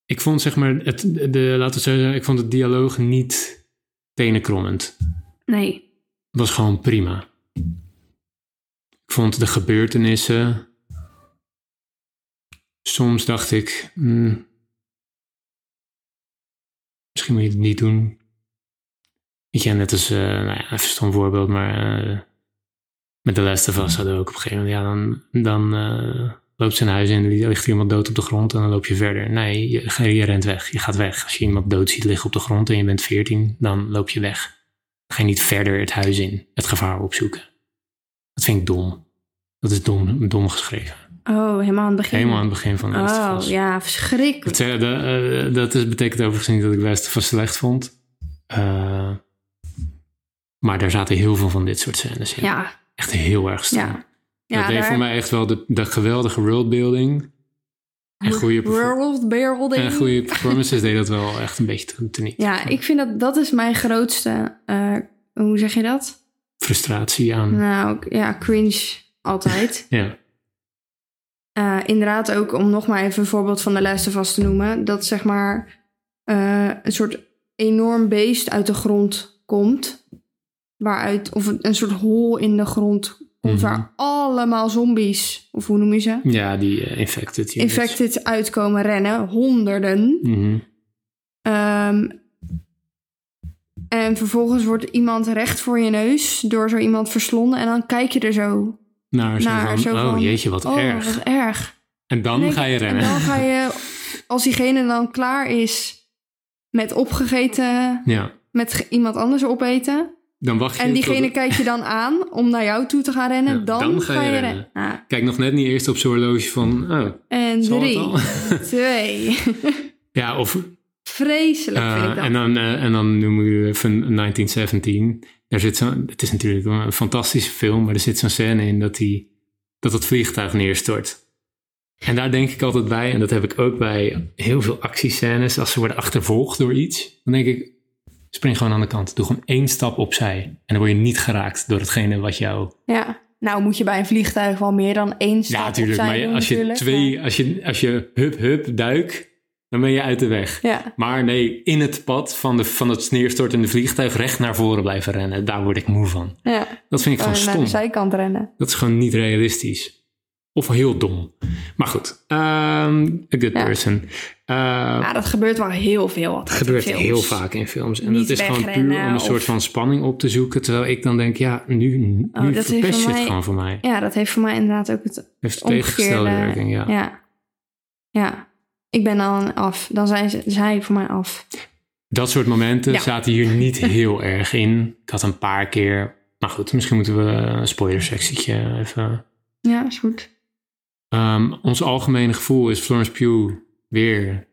S1: Ik vond zeg maar, het, de, laten we het zo zeggen, ik vond het dialoog niet tenenkrommend.
S2: nee,
S1: Het was gewoon prima. Ik vond de gebeurtenissen. Soms dacht ik. hmm, misschien moet je het niet doen. Weet je, net als. eh, nou ja, even een stom voorbeeld, maar. eh, met de Last of Us hadden we ook op een gegeven moment. Ja, dan. dan eh, loopt ze naar huis in. er ligt iemand dood op de grond. En dan loop je verder. Nee, je, je rent weg. Je gaat weg. Als je iemand dood ziet liggen op de grond. en je bent 14, dan loop je weg ga je niet verder het huis in, het gevaar opzoeken. Dat vind ik dom. Dat is dom, dom geschreven.
S2: oh, helemaal aan het begin.
S1: Helemaal aan het begin van de Last
S2: Mhm. Oh,
S1: of Us.
S2: ja, verschrikkelijk.
S1: Dat, zei- de- eh, dat is, betekent overigens niet dat ik Last of Us slecht vond. Eh, maar daar zaten heel veel van dit soort scènes in.
S2: Ja,
S1: Echt heel erg staan.
S2: ja.
S1: dat deed
S2: daar-
S1: voor mij echt wel de, de geweldige worldbuilding. En goede, perfor-
S2: World building.
S1: en goede performances deed dat wel echt een beetje ten- teniet.
S2: Ja, ik vind dat dat is mijn grootste, eh, hoe zeg je dat?
S1: Frustratie aan.
S2: Nou, k- ja, cringe altijd.
S1: Ja.
S2: Eh, inderdaad ook, om nog maar even een voorbeeld van de lijsten vast te noemen... dat zeg maar eh, een soort enorm beest uit de grond komt. Waaruit, of een, een soort hol in de grond komt...
S1: Mhm.
S2: waar allemaal zombies, of hoe noem je ze?
S1: ja, die eh, infected units.
S2: Infected uitkomen rennen, honderden.
S1: Mhm.
S2: Ehm, en vervolgens wordt iemand recht voor je neus door zo iemand verslonden... en dan kijk je er zo
S1: Naar zo
S2: Naar
S1: van,
S2: zo
S1: oh
S2: van,
S1: jeetje, wat
S2: Oh,
S1: erg.
S2: wat erg.
S1: En dan
S2: Nee,
S1: ga je
S2: En
S1: rennen.
S2: dan ga je, als diegene dan klaar is met opgegeten,
S1: Ja,
S2: met ge- iemand anders opeten.
S1: dan wacht je
S2: En
S1: tot
S2: diegene
S1: het-
S2: kijkt je dan aan om naar jou toe te gaan rennen.
S1: Ja,
S2: dan, ga, je rennen. Ja.
S1: Kijk nog net niet eerst op zo'n horloge van, oh,
S2: En
S1: zal het
S2: drie,
S1: al?
S2: twee.
S1: ja, of...
S2: Vreselijk
S1: eh,
S2: vind ik dat.
S1: en, dan, eh, en dan noemen we even 1917. Daar zit zo'n, het is natuurlijk een fantastische film, maar er zit zo'n scène in dat, die, dat het vliegtuig neerstort. En daar denk ik altijd bij, en dat heb ik ook bij heel veel actiescènes, als ze worden achtervolgd door iets, dan denk ik, spring gewoon aan de kant. Doe gewoon één stap opzij. En dan word je niet geraakt door hetgene wat jou
S2: ja. Nou moet je bij een vliegtuig wel meer dan één stap
S1: Ja,
S2: op
S1: natuurlijk.
S2: zijn
S1: Maar je-
S2: doen
S1: als je
S2: natuurlijk, maar-
S1: twee, als je, als je hup hup duik, dan ben je uit de weg.
S2: Ja,
S1: Maar nee, in het pad van, de, van het sneerstortende vliegtuig recht naar voren blijven rennen. Daar word ik moe van.
S2: ja.
S1: Dat vind ik
S2: Eh,
S1: gewoon
S2: naar de
S1: stom.
S2: zijkant rennen.
S1: Dat is gewoon niet realistisch. Of heel dom. Maar goed, ehm, a good
S2: Ja.
S1: person. Eh,
S2: Ja, dat gebeurt wel heel veel.
S1: Het
S2: altijd
S1: gebeurt
S2: in films.
S1: heel vaak in films. En
S2: Niet
S1: dat is gewoon puur om
S2: wegrennen
S1: een
S2: of-
S1: soort van spanning op te zoeken. Terwijl ik dan denk, ja, nu, nu
S2: Oh, dat heeft
S1: verpest
S2: voor
S1: je het
S2: mij-
S1: gewoon voor mij.
S2: Ja, dat heeft voor mij inderdaad ook het
S1: Heeft tegengestelde
S2: omgekeerde...
S1: werking, ja.
S2: ja. Ja. Ik ben dan af. Dan zijn ze, zij voor mij af.
S1: Dat soort momenten
S2: Ja.
S1: zaten hier niet heel erg in. Ik had een paar keer... Maar goed, misschien moeten we een spoilersectietje even...
S2: Ja, is goed.
S1: Ehm, ons algemene gevoel is Florence Pugh weer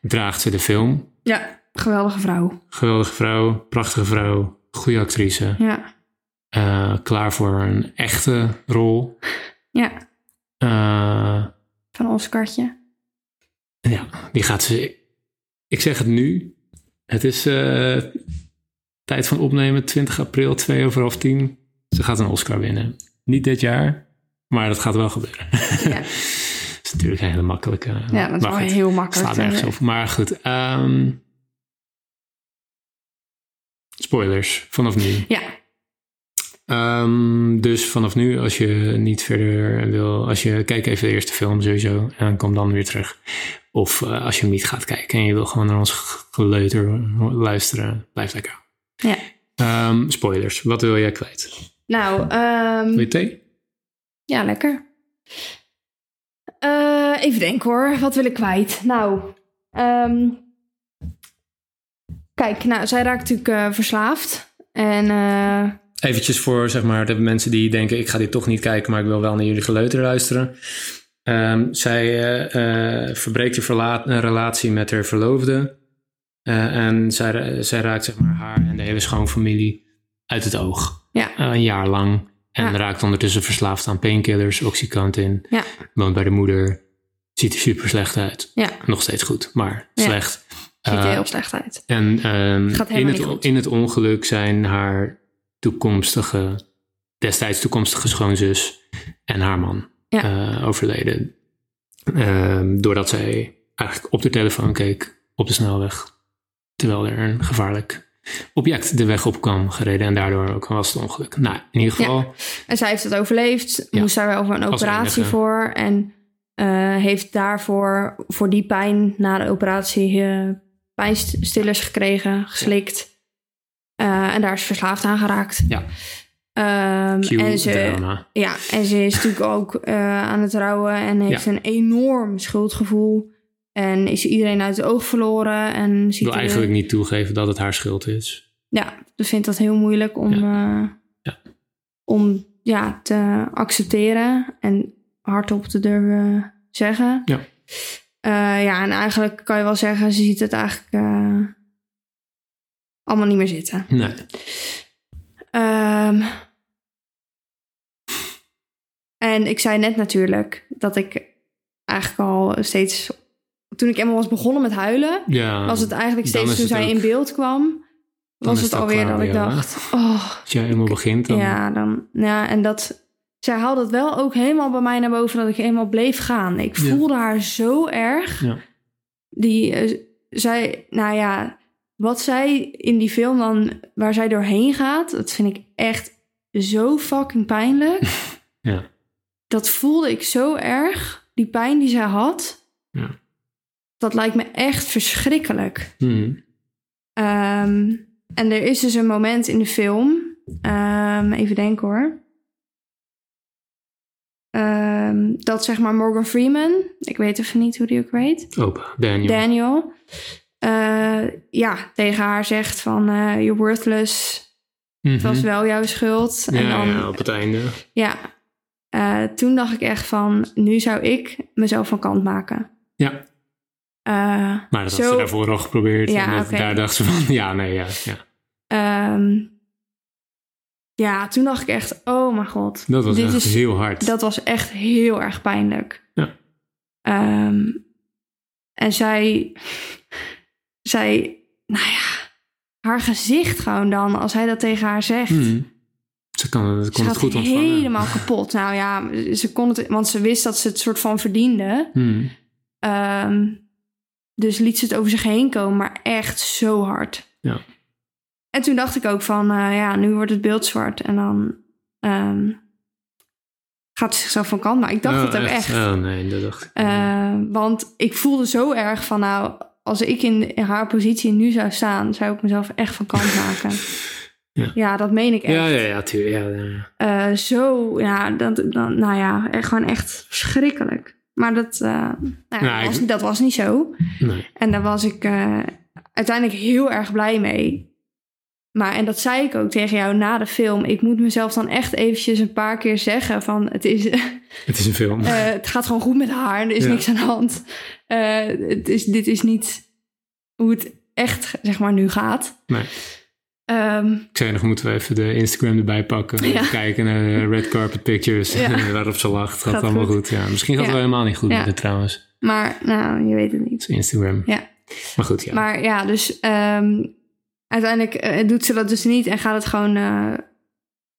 S1: draagt ze de film.
S2: Ja. Geweldige vrouw.
S1: Geweldige vrouw, prachtige vrouw, goede actrice.
S2: Ja.
S1: Eh, klaar voor een echte rol.
S2: Ja.
S1: Eh,
S2: Van Oscartje.
S1: Ja, die gaat ze. Ik zeg het nu. Het is eh, tijd van opnemen, 20 april, 2 over half 10. Ze gaat een Oscar winnen. Niet dit jaar, maar dat gaat wel gebeuren.
S2: Ja.
S1: dat is natuurlijk een hele makkelijke.
S2: Ja, dat is wel heel makkelijk.
S1: Slaat ergens op. Maar goed. ehm, spoilers vanaf nu.
S2: Ja.
S1: Ehm, dus vanaf nu, als je niet verder wil, als je kijk even de eerste film sowieso en kom dan weer terug. Of eh, als je hem niet gaat kijken en je wil gewoon naar ons g- geleuter luisteren, blijf lekker.
S2: Ja.
S1: Ehm, spoilers, wat wil jij kwijt?
S2: Nou, ehm,
S1: Wil je thee?
S2: ja, lekker. Eh, even denken hoor. Wat wil ik kwijt? Nou, ehm, kijk, nou, zij raakt natuurlijk eh, verslaafd. En eh,
S1: Eventjes voor zeg maar, de mensen die denken: ik ga dit toch niet kijken, maar ik wil wel naar jullie geleuter luisteren. Ehm, zij eh, eh, verbreekt de verla- een relatie met haar verloofde. Eh, en zij, ra- zij raakt zeg maar, haar en de hele schoonfamilie uit het oog.
S2: Ja.
S1: Eh, een jaar lang. En
S2: Ja.
S1: raakt ondertussen verslaafd aan painkillers, oxycontin.
S2: Ja.
S1: Woont bij de moeder. Ziet er super slecht uit.
S2: ja,
S1: Nog steeds goed, maar
S2: Ja.
S1: slecht.
S2: ziet er
S1: Eh,
S2: heel slecht uit.
S1: en ehm,
S2: Gaat helemaal
S1: in, het,
S2: niet goed.
S1: in het ongeluk zijn haar toekomstige, destijds toekomstige schoonzus en haar man
S2: Ja.
S1: eh, overleden. Ehm, doordat zij eigenlijk op de telefoon keek op de snelweg. Terwijl er een gevaarlijk object de weg op kwam gereden en daardoor ook was het ongeluk. Nou, in ieder
S2: Ja.
S1: geval,
S2: En zij heeft het overleefd,
S1: Ja.
S2: moest daar wel voor een
S1: Als
S2: operatie
S1: enige.
S2: voor. En eh, heeft daarvoor, voor die pijn na de operatie, eh, pijnstillers gekregen, geslikt. Eh, en daar is ze verslaafd aan geraakt.
S1: Ja.
S2: Ehm, en,
S1: cute
S2: ze,
S1: drama.
S2: ja, en ze is natuurlijk ook eh, aan het rouwen en heeft een enorm schuldgevoel. En is iedereen uit het oog verloren. En
S1: Ik
S2: ziet
S1: wil
S2: er-
S1: eigenlijk niet toegeven dat het haar schuld is.
S2: ja, dus vindt dat heel moeilijk om, eh,
S1: Ja.
S2: om ja, te accepteren en hardop te durven zeggen.
S1: Ja.
S2: Eh, ja, en eigenlijk kan je wel zeggen, ze ziet het eigenlijk eh, allemaal niet meer zitten.
S1: Nee.
S2: Ehm, en ik zei net natuurlijk dat ik eigenlijk al steeds, toen ik eenmaal was begonnen met huilen,
S1: Ja,
S2: was het eigenlijk
S1: Ehm, dan
S2: steeds
S1: is
S2: toen
S1: het
S2: zij
S1: ook-
S2: in beeld kwam, was
S1: is
S2: het
S1: het ook
S2: alweer
S1: klaar
S2: dat ik
S1: weer, hè?
S2: dacht, oh,
S1: als je helemaal begint, dan
S2: ja, dan, ja, en dat, zij haalde het wel ook helemaal bij mij naar boven dat ik helemaal bleef gaan. Ik
S1: Ja.
S2: voelde haar zo erg.
S1: Ja.
S2: Die, eh, zij, nou ja, wat zij in die film dan, waar zij doorheen gaat, dat vind ik echt zo fucking pijnlijk.
S1: Ja.
S2: Dat voelde ik zo erg, die pijn die zij had.
S1: Ja.
S2: Dat lijkt me echt verschrikkelijk.
S1: Hmm.
S2: Ehm, en er is dus een moment in de film. ehm, even denken hoor. Ehm, dat zeg maar Morgan Freeman. Ik weet even niet hoe die ook weet.
S1: opa, Daniel.
S2: Daniel. eh, ja, tegen haar zegt van... eh you're worthless.
S1: Mhm.
S2: Het was wel jouw schuld. en
S1: Ja,
S2: dan,
S1: ja, op het einde.
S2: ja. Eh, toen dacht ik echt van... Nu zou ik mezelf van kant maken.
S1: Ja,
S2: Eh,
S1: maar dat had
S2: Zo-
S1: ze daarvoor al geprobeerd.
S2: Ja,
S1: en dat-
S2: oké.
S1: daar dacht ze van, ja, nee, ja, ja.
S2: Ehm, ja, toen dacht ik echt, oh mijn god.
S1: Dat was
S2: dit
S1: echt
S2: is-
S1: heel hard.
S2: Dat was echt heel erg pijnlijk.
S1: Ja.
S2: Ehm, en zij, zij, nou ja, haar gezicht gewoon dan, als hij dat tegen haar zegt.
S1: Hmm. Ze ze kan, ze kon
S2: ze
S1: het
S2: gaat
S1: goed ontvangen.
S2: helemaal kapot. Nou ja, ze kon het, want ze wist dat ze het soort van verdiende.
S1: Hmm.
S2: Ehm, dus liet ze het over zich heen komen, maar echt zo hard.
S1: Ja.
S2: En toen dacht ik ook van, eh, ja, nu wordt het beeld zwart en dan ehm, gaat ze zichzelf van kant. Maar ik dacht
S1: Oh,
S2: het ook echt.
S1: Oh nee, dat dacht ik.
S2: Eh, want ik voelde zo erg van, nou, als ik in, in haar positie nu zou staan, zou ik mezelf echt van kant maken.
S1: Ja.
S2: dat meen ik echt.
S1: ja, ja, ja, tuurlijk. Ja, ja.
S2: Eh, zo, ja, dat, dan, nou ja, echt, gewoon echt schrikkelijk. Maar dat, eh, nou, ja,
S1: Nou,
S2: dat,
S1: ik-
S2: was, dat was niet zo.
S1: Nee.
S2: En daar was ik eh, uiteindelijk heel erg blij mee. Maar, en dat zei ik ook tegen jou na de film. Ik moet mezelf dan echt eventjes een paar keer zeggen van... het, is, eh,
S1: Het is een film.
S2: het gaat gewoon goed met haar, er is
S1: Ja.
S2: niks aan de hand. Eh, het is, dit is niet hoe het echt, zeg maar, nu gaat.
S1: Nee.
S2: Ehm,
S1: Ik zei nog, moeten we even de Instagram erbij pakken.
S2: Ja.
S1: Kijken naar de red carpet pictures.
S2: Ja.
S1: waarop ze lacht. Gaat,
S2: Gaat
S1: allemaal goed.
S2: goed.
S1: Ja, misschien gaat het
S2: Ja.
S1: wel helemaal niet goed
S2: Ja.
S1: met het trouwens. Het
S2: maar, nou, je weet het niet.
S1: is Instagram.
S2: Ja.
S1: Maar goed, ja.
S2: Maar ja, dus ehm, uiteindelijk eh, doet ze dat dus niet en gaat het gewoon, eh,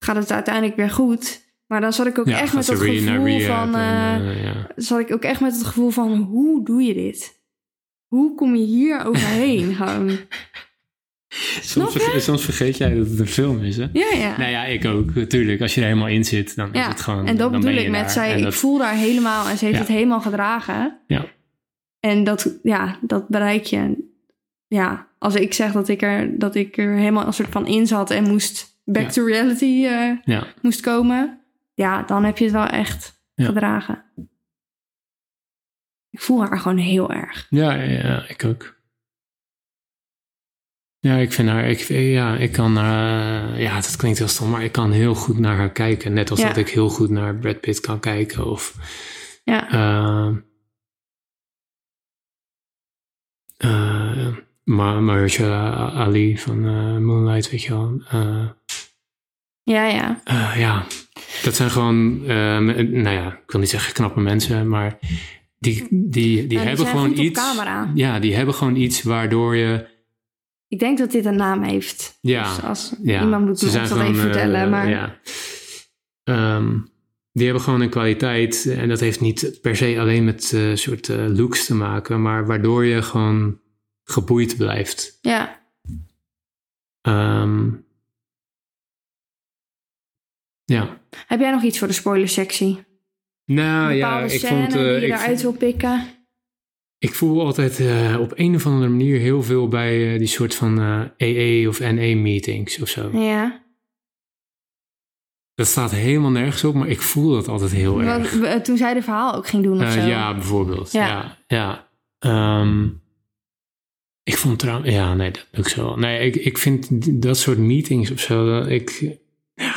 S2: gaat het uiteindelijk weer goed. Maar dan zat ik ook
S1: ja,
S2: echt
S1: gaat
S2: met
S1: ze
S2: dat
S1: re- naar
S2: gevoel
S1: rehab
S2: van,
S1: en,
S2: eh,
S1: eh, ja.
S2: zat ik ook echt met het gevoel van, hoe doe je dit? Hoe kom je hier overheen? gewoon?
S1: soms,
S2: je?
S1: verge- soms vergeet jij dat het een film is, hè?
S2: Ja, ja.
S1: Nou ja, ik ook. Natuurlijk, als je er helemaal in zit, dan is
S2: ja.
S1: het gewoon...
S2: en dat
S1: dan ben
S2: bedoel
S1: je
S2: ik met
S1: daar.
S2: zij,
S1: En
S2: ik
S1: dat-
S2: voel daar helemaal en ze heeft
S1: Ja.
S2: het helemaal gedragen.
S1: Ja.
S2: En dat, ja, dat bereik je. Ja, als ik zeg dat ik er, dat ik er helemaal een soort van in zat en moest back
S1: Ja.
S2: to reality eh,
S1: Ja,
S2: moest komen, ja, dan heb je het wel echt
S1: Ja.
S2: gedragen. Ik voel haar gewoon heel erg.
S1: ja, ja, ja, ik ook. Ja, ik vind haar... Ik, ja, ik kan... eh, ja, dat klinkt heel stom, maar ik kan heel goed naar haar kijken. Net als
S2: Ja.
S1: dat ik heel goed naar Brad Pitt kan kijken. Of
S2: Ja,
S1: Eh, eh, Ma- Mahershala Ali van eh, Moonlight, weet je wel. Eh,
S2: ja, ja.
S1: eh, ja, dat zijn gewoon, eh, me- nou ja, ik wil niet zeggen knappe mensen, maar die, die, die
S2: die
S1: hebben
S2: zijn
S1: gewoon
S2: goed op
S1: iets.
S2: camera.
S1: Ja, die hebben gewoon iets waardoor je.
S2: Ik denk dat dit een naam heeft.
S1: Ja,
S2: Dus als
S1: ja,
S2: iemand moet
S1: ze
S2: me
S1: zijn
S2: dat even
S1: gewoon, eh,
S2: vertellen. maar ja.
S1: ja. Ehm, die hebben gewoon een kwaliteit. En dat heeft niet per se alleen met eh soort eh, looks te maken. Maar waardoor je gewoon geboeid blijft.
S2: Ja,
S1: Ehm, ja.
S2: Heb jij nog iets voor de spoilersectie?
S1: Nou ja,
S2: Bepaalde
S1: ik
S2: scène
S1: vond... eh,
S2: die je
S1: ik,
S2: eruit wil pikken?
S1: ik voel altijd eh, op een of andere manier heel veel bij eh, die soort van eh AA of NA-meetings of zo.
S2: Ja.
S1: Dat staat helemaal nergens op, maar ik voel dat altijd heel erg.
S2: Wat- we- eh, toen zij de verhaal ook ging doen of
S1: Eh,
S2: zo.
S1: ja, bijvoorbeeld. Ja.
S2: Ja.
S1: ja, Ehm, ik vond trouwens... Ja, nee, dat doe ik zo. Nee, ik, ik vind d- dat soort meetings of zo... dat Ik, ja.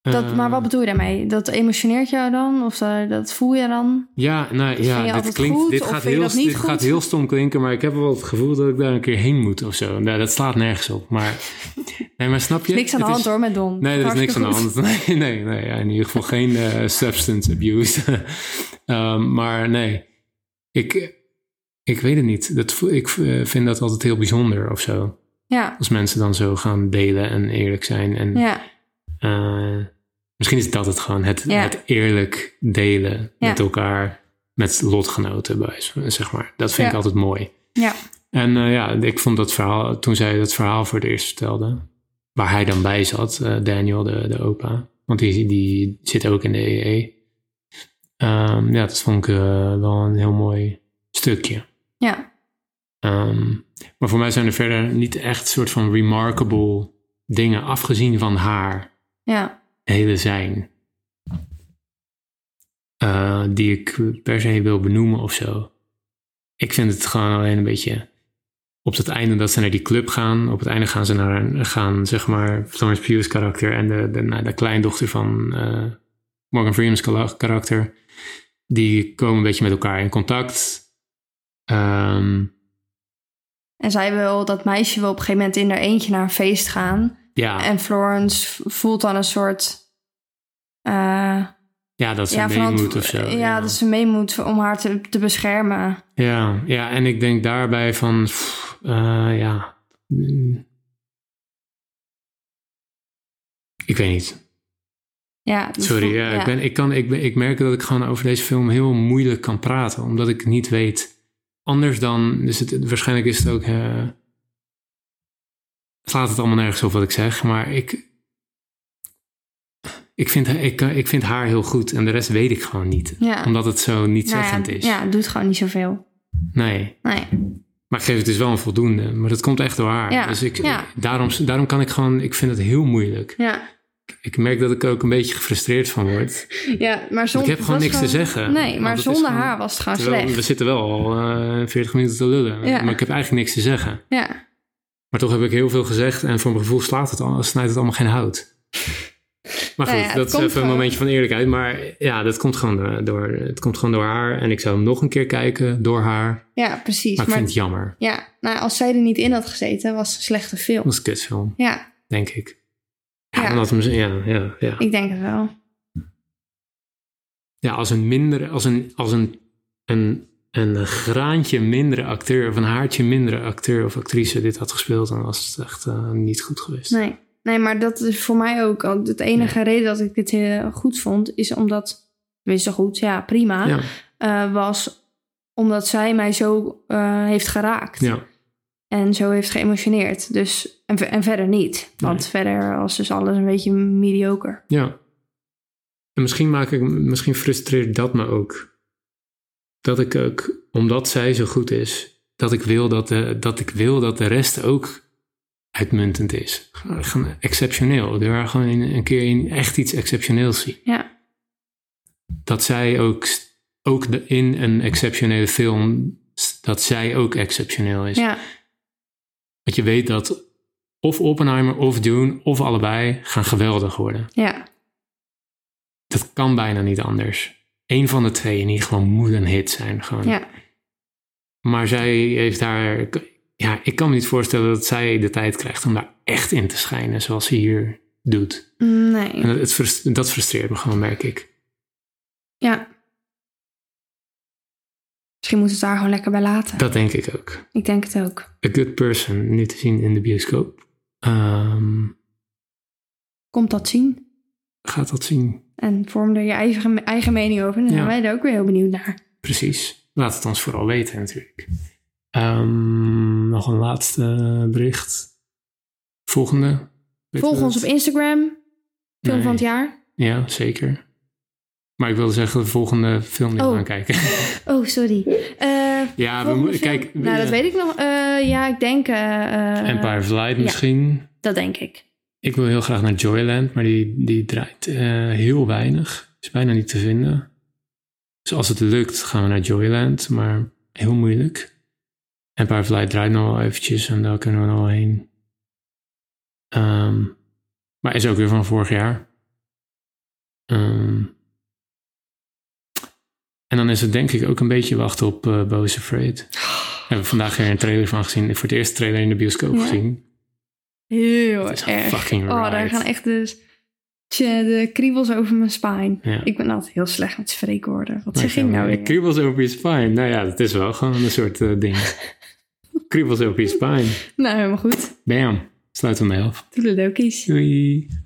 S2: Dat, maar
S1: Eh,
S2: wat bedoel je daarmee? Dat emotioneert jou dan? Of eh, dat voel je dan?
S1: Ja, nou
S2: je
S1: ja, dit,
S2: altijd
S1: klinkt,
S2: goed,
S1: dit,
S2: of
S1: gaat,
S2: vind je
S1: heel,
S2: dat niet
S1: dit
S2: goed?
S1: gaat heel stom klinken, maar ik heb wel het gevoel dat ik daar een keer heen moet of zo. Nou, dat slaat nergens op. Maar, nee, maar snap je?
S2: Niks aan de
S1: Het
S2: hand
S1: is-
S2: hoor met Don.
S1: Nee, er is niks
S2: Hartstikke
S1: aan de
S2: goed.
S1: hand. Nee, nee, nee ja, in ieder geval geen eh, substance abuse. Ehm, maar nee, ik, ik weet het niet. Dat, vo- ik eh, vind dat altijd heel bijzonder of zo.
S2: Ja,
S1: Als mensen dan zo gaan delen en eerlijk zijn. En,
S2: ja.
S1: eh, misschien is dat het gewoon, het,
S2: Ja.
S1: het eerlijk delen
S2: Ja.
S1: met elkaar, met lotgenoten, bij z- zeg maar. Dat vind
S2: Ja.
S1: ik altijd mooi.
S2: Ja.
S1: En eh, ja, ik vond dat verhaal, toen zij dat verhaal voor het eerst vertelde, waar hij dan bij zat, eh, Daniel, de, de opa, want die, die zit ook in de EE. Ehm, ja, dat vond ik eh, wel een heel mooi stukje.
S2: Ja.
S1: Ehm, maar voor mij zijn er verder niet echt soort van remarkable dingen, afgezien van haar
S2: Ja,
S1: hele zijn. eh, die ik per se wil benoemen of zo. Ik vind het gewoon alleen een beetje. Op het einde dat ze naar die club gaan. Op het einde gaan ze naar een- gaan, zeg maar, Florence Pugh's karakter en de, de, nou, de kleindochter van eh, Morgan Freeman's kala- karakter. Die komen een beetje met elkaar in contact. Ehm,
S2: en zij wil, dat meisje wil op een gegeven moment in haar eentje naar een feest gaan.
S1: ja,
S2: En Florence v- voelt dan een soort... eh,
S1: ja, dat ze
S2: ja,
S1: mee
S2: verant-
S1: moet of zo.
S2: ja, dat ze mee moet om haar te, te beschermen.
S1: Ja, ja, en ik denk daarbij van, pff, eh, ja. mm. Ik weet niet.
S2: Ja, dat
S1: Sorry,
S2: vond-
S1: ja, Ik, ben, ik, kan, ik, ben, ik merk dat ik gewoon over deze film heel moeilijk kan praten, omdat ik niet weet. Anders dan, dus het, waarschijnlijk is het ook. eh, slaat het allemaal nergens op wat ik zeg, maar ik. Ik vind, ik, ik vind haar heel goed en de rest weet ik gewoon niet.
S2: Ja.
S1: Omdat het zo niet
S2: Nou
S1: zeggend
S2: ja,
S1: is.
S2: Ja, het doet gewoon niet zoveel.
S1: Nee,
S2: Nee.
S1: maar ik geef het dus wel een voldoende. Maar dat komt echt door haar.
S2: Ja,
S1: Dus ik,
S2: ja.
S1: daarom, daarom kan ik gewoon, ik vind het heel moeilijk.
S2: Ja.
S1: Ik merk dat ik er ook een beetje gefrustreerd van word.
S2: ja, maar zonder...
S1: Ik heb gewoon niks te zeggen.
S2: Nee, maar
S1: Want het is
S2: zonder
S1: gewoon-
S2: haar was het gewoon
S1: Terwijl
S2: slecht.
S1: we zitten wel al eh 40 minuten te lullen.
S2: Ja.
S1: Maar ik heb eigenlijk niks te zeggen.
S2: Ja.
S1: Maar toch heb ik heel veel gezegd en voor mijn gevoel slaat het al, snijdt het allemaal geen hout. Maar goed,
S2: Nou ja, het
S1: dat is even
S2: komt
S1: een
S2: gewoon-
S1: momentje van eerlijkheid. Maar ja, dat komt gewoon, eh, door, het komt gewoon door haar. En ik zou hem nog een keer kijken door haar. Maar
S2: ja, precies.
S1: ik
S2: Maar,
S1: vind het jammer.
S2: ja, nou, als zij er niet in had gezeten, was het een slechte film.
S1: Dat is een kutfilm,
S2: Ja,
S1: denk ik. Ja,
S2: Ja.
S1: dan had hem z- ja, ja, ja.
S2: ik denk het wel.
S1: ja, als een minder, als een, als een, een, een graantje mindere acteur of een haartje mindere acteur of actrice dit had gespeeld, dan was het echt eh, niet goed geweest.
S2: Nee. nee, maar dat is voor mij ook... al- Het enige reden dat ik dit heel goed vond, is omdat... Tenminste goed, ja, prima.
S1: Ja,
S2: eh, was omdat zij mij zo eh, heeft geraakt.
S1: ja,
S2: En zo heeft geëmotioneerd. Dus, en, ver- en verder niet. Want
S1: Nee.
S2: verder was dus alles een beetje mediocre.
S1: ja. En misschien, maak ik, misschien frustreert dat me ook. Dat ik ook, omdat zij zo goed is, dat ik wil dat de, dat ik wil dat de rest ook uitmuntend is. Gewoon- gewoon Exceptioneel. Er waren gewoon een keer in echt iets exceptioneels zien.
S2: Ja,
S1: dat zij ook, ook de, in een exceptionele film, dat zij ook exceptioneel is.
S2: ja,
S1: Want je weet dat of Oppenheimer of Dune of allebei gaan geweldig worden.
S2: ja,
S1: Dat kan bijna niet anders. Eén van de twee in ieder geval moet een hit zijn. Gewoon.
S2: ja.
S1: Maar zij heeft daar... Ja, ik kan me niet voorstellen dat zij de tijd krijgt om daar echt in te schijnen zoals ze hier doet. En
S2: Nee.
S1: dat, het frust- dat frustreert me gewoon, merk ik.
S2: Ja. Misschien moet het daar gewoon lekker bij laten.
S1: Dat denk ik ook.
S2: Ik denk het ook.
S1: A Good Person nu te zien in de bioscoop. Ehm,
S2: Komt dat zien.
S1: gaat dat zien.
S2: En vorm er je eigen, eigen mening over. Dan zijn
S1: Ja.
S2: wij er ook weer heel benieuwd naar.
S1: Precies. Laat het ons vooral weten natuurlijk. Ehm, nog een laatste bericht. Volgende. Weten we
S2: Volg ons
S1: dat?
S2: op Instagram. Film
S1: Nee.
S2: van het jaar.
S1: Ja, zeker. Maar ik wilde zeggen de volgende film die
S2: Oh.
S1: we gaan kijken.
S2: Oh, sorry. Eh,
S1: ja, Ah, we
S2: volgende
S1: moeten...
S2: film.
S1: Kijk,
S2: Nou, dat
S1: eh,
S2: weet ik nog. Eh, ja, ik denk... eh, eh,
S1: Empire of Light misschien.
S2: Dat denk ik.
S1: Ik wil heel graag naar Joyland, maar die, die draait eh, heel weinig. Is bijna niet te vinden. Dus als het lukt, gaan we naar Joyland, maar heel moeilijk. En Firefly draait nog wel eventjes en daar kunnen we nog wel heen. Ehm, maar is ook weer van vorig jaar. Ehm, en dan is het denk ik ook een beetje wachten op eh Bo's Afraid. Hebben we vandaag weer een trailer van gezien. Voor het eerst een trailer in de bioscoop
S2: Ja.
S1: gezien.
S2: Heel
S1: Het is
S2: erg.
S1: fucking
S2: Oh, daar
S1: right.
S2: gaan echt de, tje, de kriebels over mijn spine.
S1: Ja.
S2: Ik ben altijd heel slecht met spreekwoorden. Wat
S1: Maar
S2: zeg ik nou
S1: ja,
S2: weer?
S1: Kriebels over je spine. Nou ja, dat is wel gewoon een soort eh, ding. kriebels over je spine.
S2: Nou, helemaal goed.
S1: Bam. Sluit hem mee af.
S2: Toedeledokies.
S1: Doei.